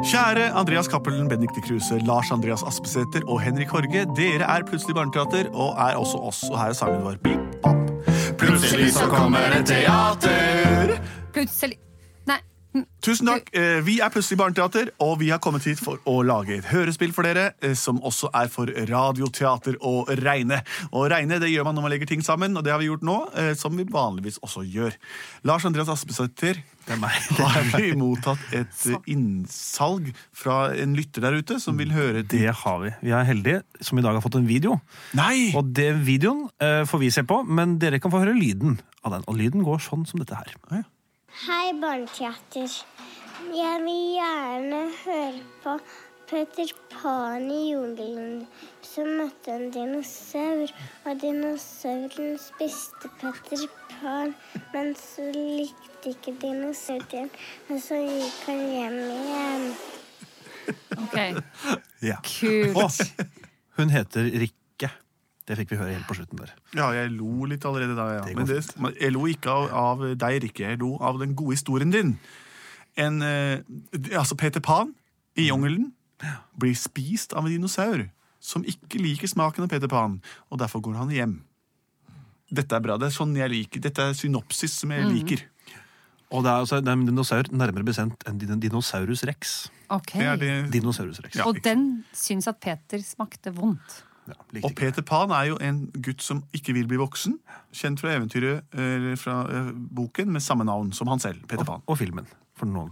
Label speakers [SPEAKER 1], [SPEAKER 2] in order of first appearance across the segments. [SPEAKER 1] Kjære Andreas Cappelen, Benedicte Kruse, Lars Andreas Aspesæter og Henrik Horge. Dere er plutselig barneteater, og er også oss. Og her er sangen vår. Bip, bap.
[SPEAKER 2] Plutselig så kommer et teater.
[SPEAKER 3] Plutselig Nei.
[SPEAKER 1] Tusen takk. Eh, Vi er Plutselig barneteater, og vi har kommet hit for å lage et hørespill for dere, eh, som også er for radioteater å regne. Og regne det gjør man når man legger ting sammen, og det har vi gjort nå, eh, som vi vanligvis også gjør. Lars Andreas Aspesæter, det er meg. Nå har vi mottatt et eh, innsalg fra en lytter der ute som vil høre til
[SPEAKER 4] Det har vi. Vi er heldige som i dag har fått en video.
[SPEAKER 1] Nei!
[SPEAKER 4] Og det videoen eh, får vi se på, men dere kan få høre lyden av den. Og lyden går sånn som dette her.
[SPEAKER 5] Hei, Barneteater. Jeg vil gjerne høre på Peter Pan i jungelen som møtte en dinosaur, og dinosauren spiste Peter Pan, men så likte ikke dinosauren, og så gikk han hjem igjen.
[SPEAKER 3] Ok,
[SPEAKER 1] Ja.
[SPEAKER 3] kult.
[SPEAKER 4] Og hun heter Rikke. Det fikk vi høre helt på slutten der.
[SPEAKER 1] ja, jeg lo litt allerede da, ja.
[SPEAKER 4] Det går
[SPEAKER 1] Men det, men jeg lo ikke av, av deg, Rikke. Jeg lo av den gode historien din. En, eh, d- altså Peter Pan i jungelen blir spist av en dinosaur som ikke liker smaken av Peter Pan, og derfor går han hjem. Dette er bra. Det er sånn jeg liker. Dette er synopsis som jeg liker.
[SPEAKER 4] Og det er altså det er en dinosaur, nærmere bestemt en din- dinosaurus rex.
[SPEAKER 3] Ok.
[SPEAKER 1] Det er det
[SPEAKER 4] Dinosaurus rex.
[SPEAKER 3] Og den syns at Peter smakte vondt.
[SPEAKER 4] Ja, likte
[SPEAKER 1] Og
[SPEAKER 4] ikke det.
[SPEAKER 1] Peter Pan er jo en gutt som ikke vil bli voksen. Kjent fra eventyret, eller fra eh, boken med samme navn som han selv. Peter Pan.
[SPEAKER 4] Og filmen, for noen.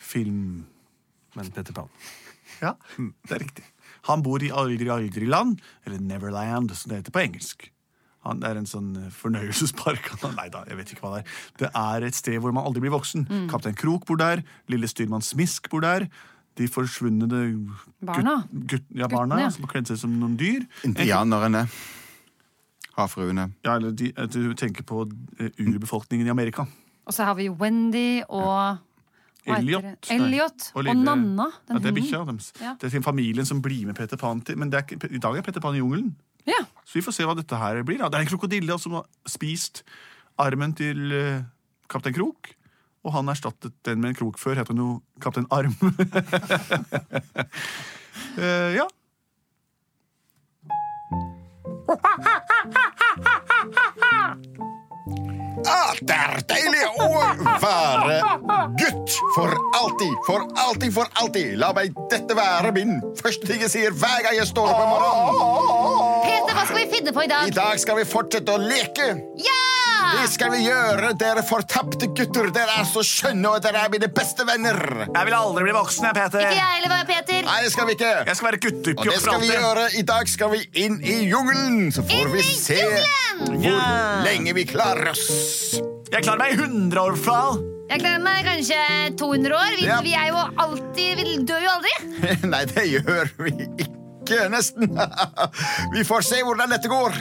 [SPEAKER 1] Film...
[SPEAKER 4] Men Peter Pan.
[SPEAKER 1] Ja, det er riktig. Han bor i aldri, aldri land, eller Neverland, som det heter på engelsk. Han det er en sånn eh, fornøyelsespark. Han- Nei da, jeg vet ikke hva det er. Det er et sted hvor man aldri blir voksen.
[SPEAKER 3] Mm.
[SPEAKER 1] Kaptein Krok bor der, lille styrmann Smisk bor der. De forsvunne
[SPEAKER 3] Barna.
[SPEAKER 1] Gutt, ja, barna
[SPEAKER 3] Guttene, ja.
[SPEAKER 1] som kledde seg som noen dyr.
[SPEAKER 2] Indianerne. Havfruene.
[SPEAKER 1] Ja, eller de, at du tenker på eh, urbefolkningen i Amerika.
[SPEAKER 3] Og så har vi Wendy og hva heter
[SPEAKER 1] Elliot.
[SPEAKER 3] det?
[SPEAKER 1] nei.
[SPEAKER 3] Elliot og,
[SPEAKER 1] lille-
[SPEAKER 3] Nanna.
[SPEAKER 1] Ja,
[SPEAKER 3] Den
[SPEAKER 1] det er
[SPEAKER 3] hunden.
[SPEAKER 1] bikkja deres.
[SPEAKER 3] Ja.
[SPEAKER 1] Det er til familien som blir med Peter Pan til Men det er, ikke- i dag er Peter Pan i jungelen.
[SPEAKER 3] Ja.
[SPEAKER 1] Så vi får se hva dette her blir. Da. Det er en krokodille altså, som har spist armen til eh, kaptein Krok. Og han erstattet den med en krok før. Het han jo Kaptein Arm? Eh, ja.
[SPEAKER 2] Ah, det er deilig å være gutt! For alltid, for alltid, for alltid. La meg dette være min første ting jeg sier hver gang jeg står opp om morgenen.
[SPEAKER 6] Peter, hva skal vi finne på i
[SPEAKER 2] I
[SPEAKER 6] dag?
[SPEAKER 2] dag skal vi fortsette å leke.
[SPEAKER 6] Ja!
[SPEAKER 2] Det skal vi gjøre, dere fortapte gutter. Dere er så skjønne, og dere er mine beste venner.
[SPEAKER 1] Jeg vil aldri bli voksen, jeg, Peter.
[SPEAKER 6] Ikke jeg heller, Peter.
[SPEAKER 2] Nei, det skal vi ikke.
[SPEAKER 1] Jeg skal være guttegutt
[SPEAKER 2] Og det skal vi gjøre. I dag skal vi inn i jungelen, så får
[SPEAKER 6] Inn
[SPEAKER 2] vi
[SPEAKER 6] i
[SPEAKER 2] se
[SPEAKER 6] jungelen!
[SPEAKER 2] hvor lenge vi klarer oss.
[SPEAKER 1] Jeg klarer meg i 100 år fra.
[SPEAKER 6] Jeg gleder meg kanskje 200 år. Vi,
[SPEAKER 2] Ja.
[SPEAKER 6] vi er jo alltid Vi dør jo aldri.
[SPEAKER 2] Nei, det gjør vi ikke. Nesten. Vi får se hvordan dette går.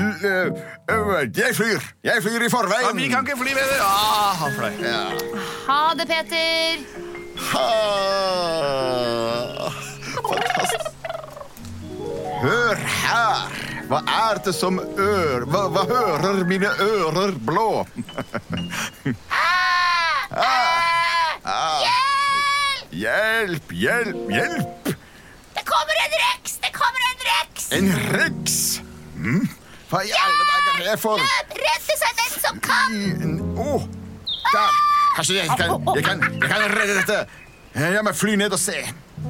[SPEAKER 2] L øh, jeg flyr. Jeg flyr i
[SPEAKER 1] Ja,
[SPEAKER 2] forveien.
[SPEAKER 1] vi kan ikke fly bedre. Ah, han fløy.
[SPEAKER 6] Ha det, Peter.
[SPEAKER 2] Ha. Fantastisk. Hør her. Hva er det som ør... Hva, hva hører mine ører blå? Ah. Hjelp, hjelp, hjelp!
[SPEAKER 6] Det kommer en reks! Det kommer en reks!
[SPEAKER 2] En reks! Mm. Hva i alle dager er det for
[SPEAKER 6] Redde seg den som kan!
[SPEAKER 2] oh. Der! Kanskje jeg kan, jeg, kan, jeg kan redde dette. Jeg må fly ned og se.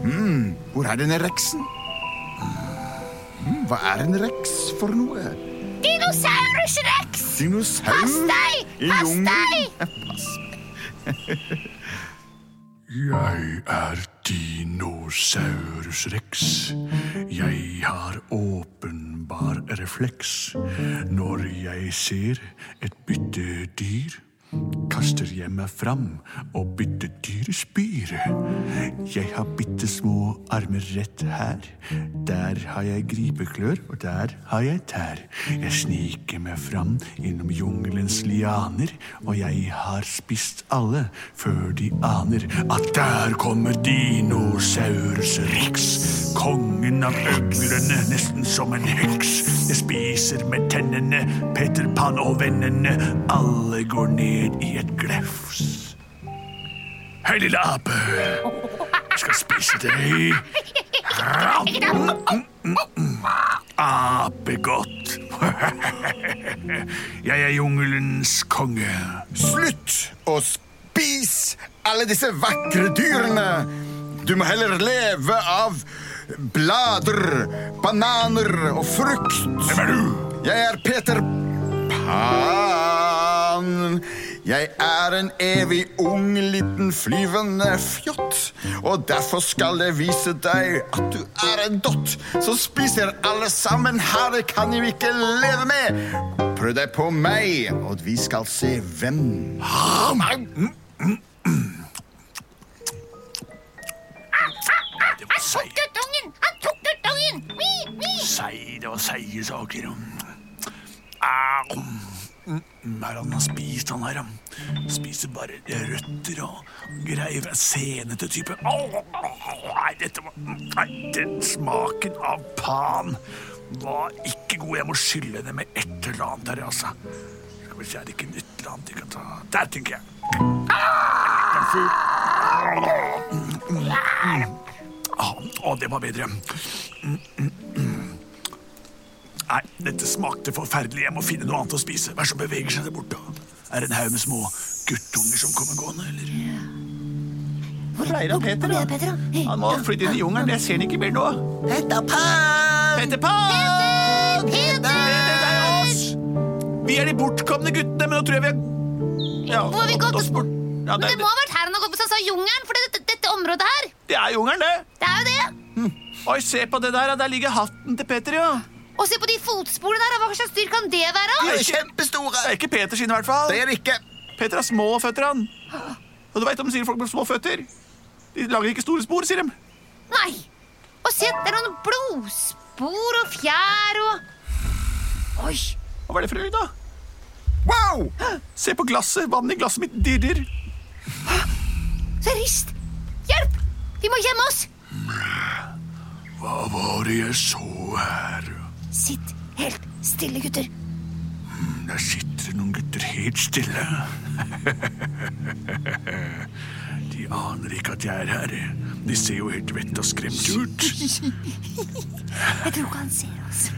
[SPEAKER 2] Mm. Hvor er denne reksen? Mm. Hva er en reks for noe?
[SPEAKER 6] Dinosaurus rex!
[SPEAKER 2] Dinosaur
[SPEAKER 6] Pass deg!
[SPEAKER 2] i
[SPEAKER 6] Pass
[SPEAKER 2] jungelen?
[SPEAKER 6] deg!
[SPEAKER 7] Jeg er dinosaurus rex. Jeg har åpenbar refleks. Når jeg ser et byttedyr, kaster jeg meg fram, og byttedyret spyr. Jeg har bitte små armer rett her. Der har jeg gripeklør, og der har jeg tær. Jeg sniker meg fram innom jungelens lianer, og jeg har spist alle før de aner at der kommer dinosaurus rex. Kongen av uglene, nesten som en heks. Jeg spiser med tennene, Peter Pan og vennene. Alle går ned i et glefs. Hei, lille ape. skal spise deg. Apegodt. Jeg er jungelens konge.
[SPEAKER 2] Slutt å spise alle disse vakre dyrene! Du må heller leve av blader, bananer og frukt.
[SPEAKER 7] Hvem er du?
[SPEAKER 2] Jeg er Peter Pan. Jeg er en evig ung liten flyvende fjott. Og derfor skal jeg vise deg at du er en dott som spiser alle sammen. Her kan vi ikke leve med. Prøv deg på meg, og vi skal se hvem.
[SPEAKER 7] Det var seig.
[SPEAKER 6] Guttungen! Han tok guttungen! Mi, mi.
[SPEAKER 7] Sei, det var seige saker. Au. Hva er det han har spist, han her? Han Spiser bare røtter og greier. Senete type. Au, Nei, dette var Nei, den smaken av pan var ikke god. Jeg må skylle henne med et eller annet her, altså. Skal vi se, er det ikke et eller annet jeg kan ta Der, tenker jeg. En fugl. Ah, Å, det var bedre. Nei, dette smakte forferdelig. Jeg må finne noe annet å spise. Hva er det som beveger seg der borte? Er det en haug med små guttunger som kommer gående, eller?
[SPEAKER 1] Hvor er han Peter? da? Han må flytte inn i jungelen. Jeg ser han ikke mer nå. Peter Pan! Peter Pan! Det er oss! Vi er de bortkomne guttene, men nå tror jeg vi er ja,
[SPEAKER 6] Hvor har vi gått
[SPEAKER 1] oss bort? Ja,
[SPEAKER 6] Men
[SPEAKER 1] det,
[SPEAKER 6] det må ha vært her han har gått på seg, sa jungelen, for dette, dette området her,
[SPEAKER 1] det er jungelen, det.
[SPEAKER 6] det er jo det.
[SPEAKER 1] Oi, se på det der. ja. Der ligger hatten til Peter, ja.
[SPEAKER 6] Og se på de fotsporene der, hva slags dyr kan det være?
[SPEAKER 2] De er
[SPEAKER 1] Det
[SPEAKER 2] kjempestore!
[SPEAKER 1] er ikke Peter sine, i hvert fall.
[SPEAKER 2] Det er det ikke.
[SPEAKER 1] Peter har små føtter, han. Og du veit om de sier folk med små føtter? De lager ikke store spor, sier de.
[SPEAKER 6] Nei. Og se, det er noen blodspor og fjær og Oi.
[SPEAKER 1] Hva var det for lyd, da?
[SPEAKER 2] Wow!
[SPEAKER 1] Se på glasset. Vannet i glasset mitt dirrer.
[SPEAKER 6] Se, rist. Hjelp! Vi må gjemme oss.
[SPEAKER 7] Hva var det jeg så her?
[SPEAKER 6] Sitt helt stille, gutter.
[SPEAKER 7] Der sitter det noen gutter helt stille. De aner ikke at jeg er her. De ser jo helt vett og skremt ut.
[SPEAKER 6] Jeg tror ikke han ser oss.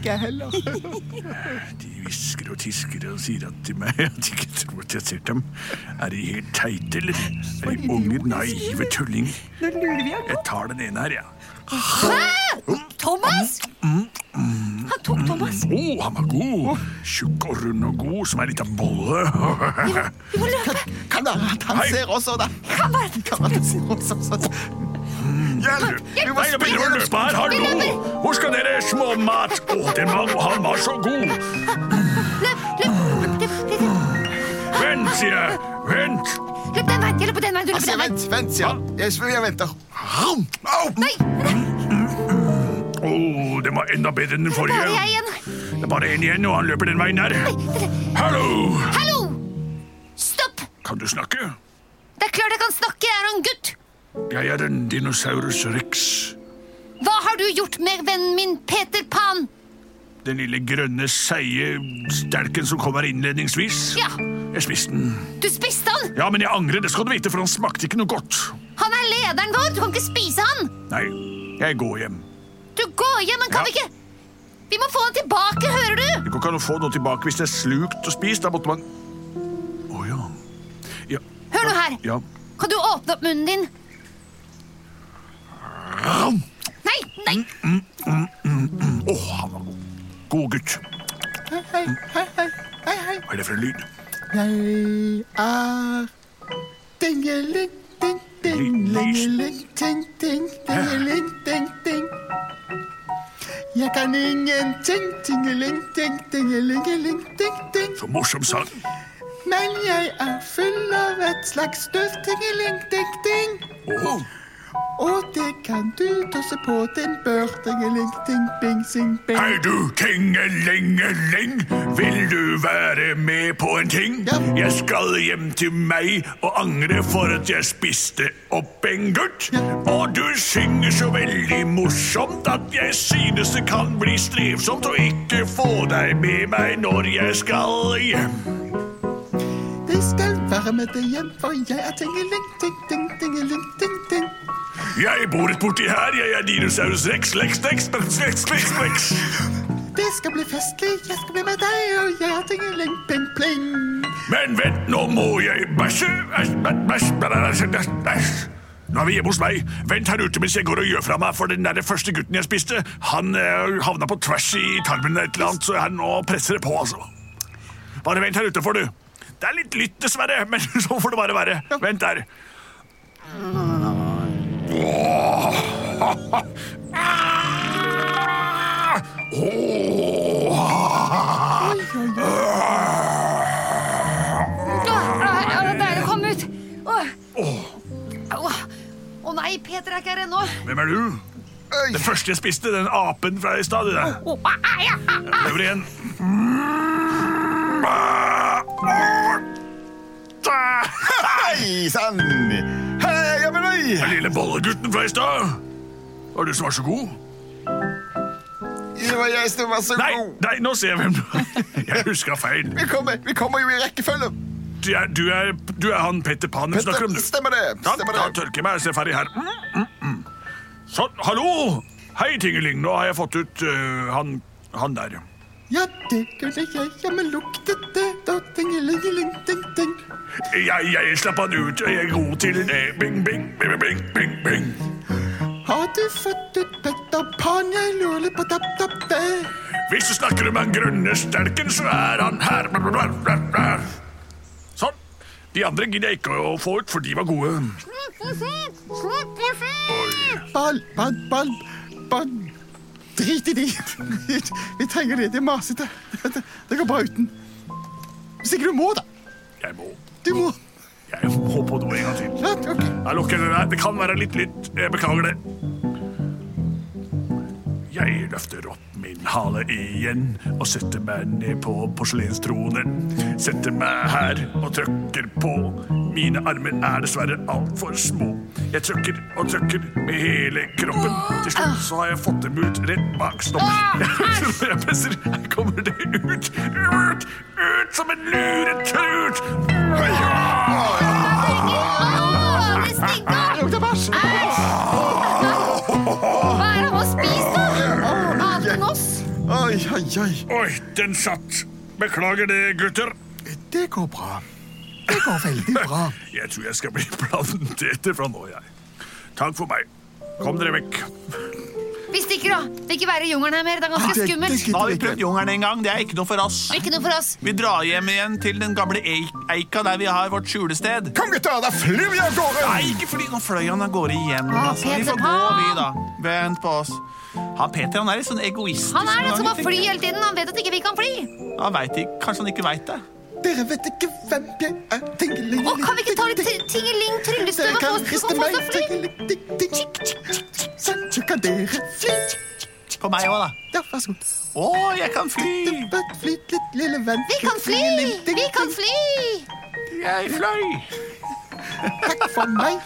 [SPEAKER 7] De hvisker og tisker og sier at til meg at de ikke tror at jeg ser dem. Er de helt teite, eller? Er de unge, naive tullinger? Jeg tar den ene her, jeg. Ja.
[SPEAKER 6] Thomas!
[SPEAKER 7] Mm,
[SPEAKER 6] Han tok Thomas.
[SPEAKER 7] Oh, han var god. Tjukk og rund og god, som ei lita bolle.
[SPEAKER 6] Vi må løpe.
[SPEAKER 2] Kan da, han
[SPEAKER 7] Hei.
[SPEAKER 2] ser også, da.
[SPEAKER 6] Kan være
[SPEAKER 2] Kan han ser oss også. sånn? Hjelp! Vi må
[SPEAKER 7] Nei, nå
[SPEAKER 2] springe
[SPEAKER 7] begynner å
[SPEAKER 2] gjennom
[SPEAKER 7] løpe her, hallo! Hvor skal dere, småmat? Å, den var, han var så god!
[SPEAKER 6] Løp, løp, løp, løp, løp,
[SPEAKER 7] Vent, sier jeg. Vent!
[SPEAKER 6] løp den veien. Jeg løper den veien, du løper
[SPEAKER 2] Altså,
[SPEAKER 6] den veien.
[SPEAKER 2] vent, vent, ja. Jeg, jeg venter.
[SPEAKER 7] Au! Å,
[SPEAKER 6] Nei, der
[SPEAKER 7] den var enda bedre enn den
[SPEAKER 6] er bare jeg
[SPEAKER 7] forrige.
[SPEAKER 6] igjen.
[SPEAKER 7] Det er bare én igjen, og han løper den veien der. Hallo!
[SPEAKER 6] Hallo! Stopp!
[SPEAKER 7] Kan du snakke?
[SPEAKER 6] Det er klart jeg kan snakke, jeg er en gutt.
[SPEAKER 7] Jeg er en dinosaurus rex.
[SPEAKER 6] Hva har du gjort med vennen min Peter Pan?
[SPEAKER 7] Den lille grønne, seige stelken som kom her innledningsvis.
[SPEAKER 6] Ja.
[SPEAKER 7] Jeg spiste den.
[SPEAKER 6] Du spiste han!
[SPEAKER 7] Ja, men jeg angrer, det skal du vite, for han smakte ikke noe godt.
[SPEAKER 6] Han er lederen vår, du kan ikke spise han!
[SPEAKER 7] Nei, jeg går hjem.
[SPEAKER 6] Du går hjem, men kan
[SPEAKER 7] Ja.
[SPEAKER 6] vi ikke Vi må få han tilbake, hører du?
[SPEAKER 7] Det går ikke an å få noe tilbake hvis det er slukt og spist. Da måtte man Å ja. Ja.
[SPEAKER 6] Hør nå her.
[SPEAKER 7] ja.
[SPEAKER 6] Kan du åpne opp munnen din? Nei, nei!
[SPEAKER 7] Å, han var god. God gutt. Hva er det for en lyd?
[SPEAKER 2] Jeg er Dingeling, ding, ding, lingeling, ting, ting, dingeling, ding, ding. Jeg kan ingenting, tingeling, ting, dingelingeling, ting, ting.
[SPEAKER 7] Så morsom sang.
[SPEAKER 2] Men jeg er full av et slags støv, tingeling, ding, ding.
[SPEAKER 7] Å,
[SPEAKER 2] Og det kan du tosse på din bør, tingeling, ting, bing, sing, bing.
[SPEAKER 7] Hei du, tingelingeling, vil du være med på en ting?
[SPEAKER 2] Ja.
[SPEAKER 7] Jeg skal hjem til meg og angre for at jeg spiste opp en gutt. Og du synger så veldig morsomt at jeg synes det kan bli strevsomt å ikke få deg med meg når jeg skal hjem.
[SPEAKER 2] Det
[SPEAKER 7] Jeg skal være med deg hjem, for jeg er tingeling, ting, ting, tingeling, ting, ting.
[SPEAKER 8] Jeg bor rett borti her. Jeg er dinosaurus rex, lex, lex, lex, lex, lex, lex.
[SPEAKER 7] Det skal bli festlig, jeg skal bli med deg, og jeg er tingeling, pling, pling.
[SPEAKER 8] Men vent, nå må jeg bæsje. Æsj, bæsj, bæsj, bæsj, bæsj, bæsj. Nå er vi hjemme hos meg. Vent her ute mens jeg går og gjør fra meg, for den der første gutten jeg spiste, han eh, havna på tvers i tarmen eller et eller annet, så her nå presser det på, altså. Bare vent her ute, får du. Det er litt lytt, dessverre, men så får det bare være. Vent der.
[SPEAKER 6] Det er å komme ut! Åh. Åh. Å nei, Peter er ikke her ennå.
[SPEAKER 8] Hvem er du?
[SPEAKER 7] Øy,
[SPEAKER 8] Den første jeg spiste, den apen fra i stad. det der.
[SPEAKER 6] Åh, ai, ai, ai.
[SPEAKER 8] Prøver igjen. Den
[SPEAKER 7] hei, sann. Hei, ja, men øy.
[SPEAKER 8] lille bollegutten fra i stad. Var det du som var så god?
[SPEAKER 7] Det var jeg som var så
[SPEAKER 8] Nei,
[SPEAKER 7] god.
[SPEAKER 8] nei, nå ser jeg hvem du er. Jeg huska feil.
[SPEAKER 7] Vi kommer, vi kommer jo i rekkefølge.
[SPEAKER 8] Du er, du er, du er han Petter Pan vi snakker om, du.
[SPEAKER 7] Stemmer det.
[SPEAKER 8] Da,
[SPEAKER 7] Stemmer
[SPEAKER 8] da
[SPEAKER 7] det.
[SPEAKER 8] tørker jeg meg og ser ferdig her. Mm, mm, mm. Sånn, hallo! Hei, Tingeling. Nå har jeg fått ut øh, han, han der.
[SPEAKER 7] Ja, det kunne jeg, ja, men luktet det, da tingelingeling, ting, ting.
[SPEAKER 8] Jeg, jeg slapp han ut, og jeg er god til det. Bing, bing, bing, bing, bing, bing.
[SPEAKER 7] Har du fått ut Petter Pan, jeg lurer på tapp, tapp, det.
[SPEAKER 8] Hvis du snakker om den grønne sterken, så er han her. Sånn. De andre gidder jeg ikke å få ut, for de var gode.
[SPEAKER 6] Mm,
[SPEAKER 7] Ball, ball, ball, ball. Drit i de. Vi, vi trenger det, det er masete. Det, det går bra uten. Hvis ikke du må, da.
[SPEAKER 8] Jeg må,
[SPEAKER 7] Du må.
[SPEAKER 8] jeg må på do en gang til.
[SPEAKER 7] Ja, ok.
[SPEAKER 8] Jeg lukker den der. Det kan være litt lytt. Jeg beklager det. Jeg løfter opp min hale igjen og setter meg ned på porselenstronen. Setter meg her og trykker på. Mine armer er dessverre altfor små. Jeg trykker og trykker med hele kroppen. Til slutt så har jeg fått dem ut rett bak snoppen. Jeg tror jeg presser. Her kommer det ut, ut, ut som en luretrut.
[SPEAKER 6] Åh, det stinker!
[SPEAKER 7] Det lukter bæsj.
[SPEAKER 6] Hva er det han har spist, da? Annet enn oss?
[SPEAKER 7] Oi, oi, oi.
[SPEAKER 8] Oi, den satt. Beklager det, gutter.
[SPEAKER 7] Det går bra. Det går veldig bra.
[SPEAKER 8] Jeg tror jeg skal bli planteter fra nå, jeg. Takk for meg. Kom dere vekk.
[SPEAKER 6] Vi stikker, da. Vil ikke være i jungelen her mer. Det er ganske
[SPEAKER 7] Ah, Det- det
[SPEAKER 6] skummelt.
[SPEAKER 1] Da har
[SPEAKER 7] gidder
[SPEAKER 1] vi
[SPEAKER 7] vi
[SPEAKER 1] prøvd
[SPEAKER 7] ikke.
[SPEAKER 1] jungelen en gang. Det er ikke noe for oss.
[SPEAKER 6] Ikke noe for oss.
[SPEAKER 1] Vi drar hjem igjen til den gamle eik- eika der vi har vårt skjulested.
[SPEAKER 7] Kom, gutter, da flyr vi av gårde.
[SPEAKER 1] Nei, ikke fordi nå fløy han av gårde igjen.
[SPEAKER 6] Å,
[SPEAKER 1] Altså. Vi
[SPEAKER 6] Ah, Peter
[SPEAKER 1] får gå,
[SPEAKER 6] Pan!
[SPEAKER 1] vi, da. Vent på oss. Han Peter han er litt sånn egoistisk.
[SPEAKER 6] Han er sånn det
[SPEAKER 1] noen
[SPEAKER 6] som
[SPEAKER 1] ganger,
[SPEAKER 6] har fly
[SPEAKER 1] tenker jeg.
[SPEAKER 6] hele tiden. Han vet at ikke vi kan fly.
[SPEAKER 1] Han vet ikke. Kanskje han ikke veit det.
[SPEAKER 7] Dere vet ikke hvem jeg er. Tingeling,
[SPEAKER 6] Å, kan vi ikke ta litt t- tingeling tryllestøv
[SPEAKER 7] Dere
[SPEAKER 6] og få
[SPEAKER 7] kan
[SPEAKER 6] oss til
[SPEAKER 7] riste
[SPEAKER 6] å
[SPEAKER 7] meg.
[SPEAKER 6] fly?
[SPEAKER 7] Tingeling, ting, ting. Sånn, så kan dere fly.
[SPEAKER 1] På meg òg, da.
[SPEAKER 7] Ja, vær så god.
[SPEAKER 1] Å, jeg kan fly!
[SPEAKER 7] Bare flyt litt, lille venn.
[SPEAKER 6] Vi kan fly!
[SPEAKER 7] Tingeling, ting,
[SPEAKER 6] Vi kan
[SPEAKER 7] ting.
[SPEAKER 6] fly!
[SPEAKER 1] Jeg fløy!
[SPEAKER 7] Takk for meg.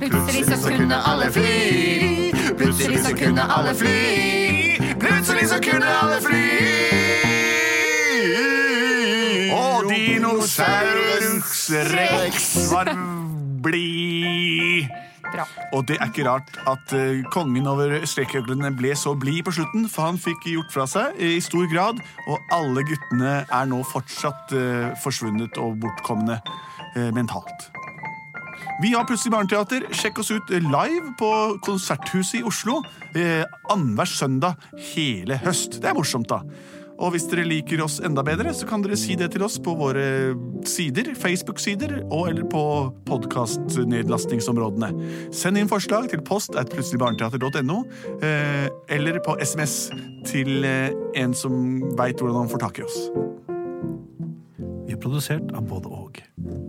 [SPEAKER 6] Plutselig så kunne alle fly. Plutselig så kunne alle fly.
[SPEAKER 7] Plutselig så kunne alle fly.
[SPEAKER 1] Og dinosaurus rex var blid.
[SPEAKER 6] Bra.
[SPEAKER 1] Og det er ikke rart at eh, kongen over strekkøklene ble så blid på slutten, for han fikk gjort fra seg eh, i stor grad, og alle guttene er nå fortsatt eh, forsvunnet og bortkomne eh, mentalt. Vi har Plutselig barneteater. Sjekk oss ut live på Konserthuset i Oslo eh, annenhver søndag hele høst. Det er morsomt, da. Og hvis dere liker oss enda bedre, så kan dere si det til oss på våre sider, Facebook-sider og eller på podkastnedlastningsområdene. Send inn forslag til post at plutseligbarneteater.no, eh, eller på SMS til eh, en som veit hvordan han får tak i oss.
[SPEAKER 4] Vi er produsert av både og.